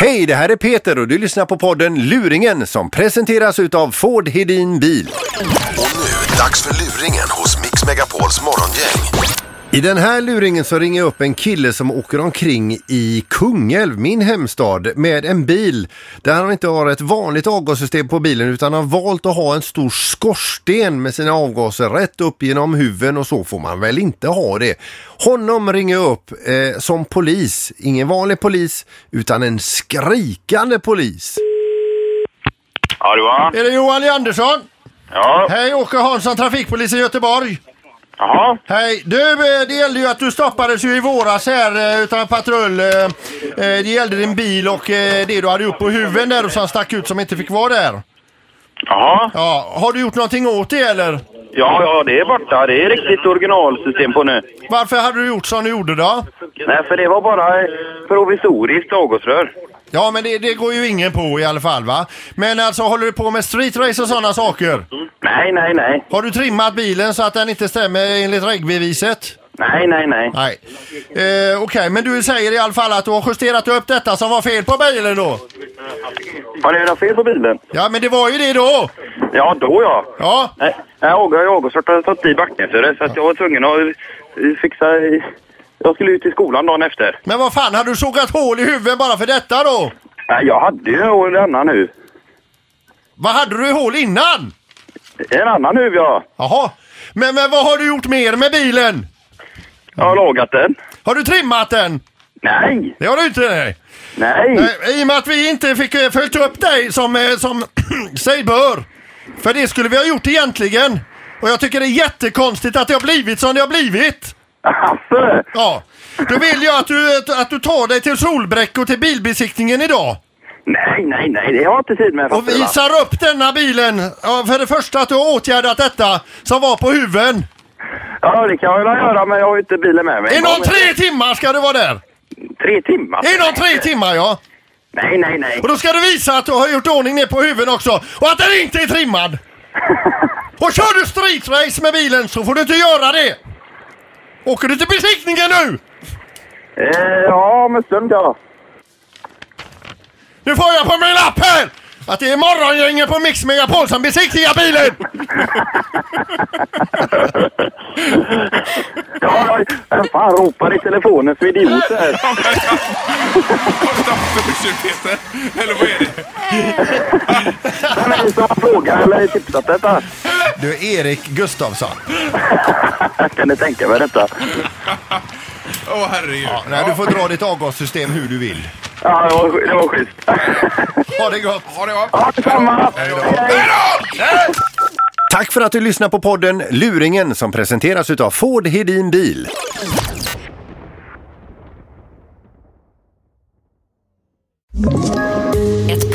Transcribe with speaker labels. Speaker 1: Hej, det här är Peter och du lyssnar på podden Luringen som presenteras utav Ford Hedin Bil.
Speaker 2: Och nu, dags för luringen hos Mix Megapols morgongäng.
Speaker 1: I den här luringen så ringer jag upp en kille som åker omkring i Kungälv, min hemstad, med en bil där han inte har ett vanligt avgassystem på bilen utan har valt att ha en stor skorsten med sina avgaser rätt upp genom huven och så får man väl inte ha det. Honom ringer jag upp eh, som polis, ingen vanlig polis utan en skrikande polis.
Speaker 3: Ja, det var
Speaker 1: Är det Johan Lee Andersson?
Speaker 3: Ja.
Speaker 1: Hej, Åke Hansson, trafikpolis i Göteborg.
Speaker 3: Jaha.
Speaker 1: Hej! Du, eh, det gällde ju att du stoppades ju i våras här eh, utan patrull. eh, eh, Det gällde din bil och eh, det du hade upp på huven där och som stack ut som inte fick vara där.
Speaker 3: Jaha.
Speaker 1: Ja, har du gjort någonting åt det eller?
Speaker 3: Ja, ja, det är borta. Det är riktigt originalsystem på nu.
Speaker 1: Varför hade du gjort som du gjorde då?
Speaker 3: Nej, för det var bara eh, provisoriskt avgasrör.
Speaker 1: Ja, men det, det går ju ingen på i alla fall va? Men alltså håller du på med streetrace och sådana saker?
Speaker 3: Nej, nej, nej.
Speaker 1: Har du trimmat bilen så att den inte stämmer enligt regelbeviset?
Speaker 3: Nej, nej, nej.
Speaker 1: Nej. Eh, Okej, men du säger i alla fall att du har justerat upp detta som var fel på bilen då?
Speaker 3: Har ni något fel på bilen?
Speaker 1: Ja, men det var ju det då!
Speaker 3: Ja, då ja.
Speaker 1: Ja,
Speaker 3: Nej, nej avgas- avgasröret hade tagit i backen för det, så att jag var tvungen att eh, fixa... eh, Jag skulle ut till skolan dagen efter.
Speaker 1: Men vad fan, hade du sågat hål i huvudet bara för detta då?
Speaker 3: Nej, jag hade ju en annan nu.
Speaker 1: Vad hade du i hål innan?
Speaker 3: En annan nu, ja.
Speaker 1: Jaha. Men, men vad har du gjort mer med bilen?
Speaker 3: Jag har lagat den.
Speaker 1: Har du trimmat den?
Speaker 3: Nej,
Speaker 1: Det har du inte. Nej.
Speaker 3: nej.
Speaker 1: Eh, I och med att vi inte fick eh, följt upp dig som, eh, som sig bör. För det skulle vi ha gjort egentligen. Och jag tycker det är jättekonstigt att det har blivit som det har blivit.
Speaker 3: Hasse!
Speaker 1: Ja. Då vill jag att du, eh, att du tar dig till Solbräck och till bilbesiktningen idag.
Speaker 3: Nej, nej, nej, det har jag inte tid med.
Speaker 1: Och
Speaker 3: fattar du, va?
Speaker 1: visar upp denna bilen. Ja, för det första att du har åtgärdat detta som var på huven.
Speaker 3: Ja, det kan jag väl göra, men jag har ju inte bilen med mig.
Speaker 1: Inom tre timmar ska du vara där!
Speaker 3: Tre timmar?
Speaker 1: Inom tre timmar ja!
Speaker 3: Nej, nej, nej.
Speaker 1: Och då ska du visa att du har gjort ordning ner på huven också och att den inte är trimmad! Och kör du streetrace med bilen så får du inte göra det! Åker du till besiktningen nu?
Speaker 3: Eh, ja, om en stund ja.
Speaker 1: Nu får jag på min lapp här! Att det är morgongänget på Mix Megapol som besiktigar bilen!
Speaker 3: ja ja, vem fan ropar i telefonen för idiot här?
Speaker 4: Första försök Peter, eller vad är det?
Speaker 3: Vem är det som har frågat eller tipsat detta?
Speaker 1: Du Erik Gustafsson.
Speaker 3: Kan ni tänka mig detta?
Speaker 4: Åh herregud. Ja,
Speaker 1: Nej, du får dra ditt avgassystem hur du vill.
Speaker 3: Ja, det var, det var schysst.
Speaker 1: Ha det gott!
Speaker 4: Ha det gott.
Speaker 3: Ja, detsamma!
Speaker 1: Tack för att du lyssnar på podden Luringen som presenteras utav Ford Hedin Bil.
Speaker 5: Ett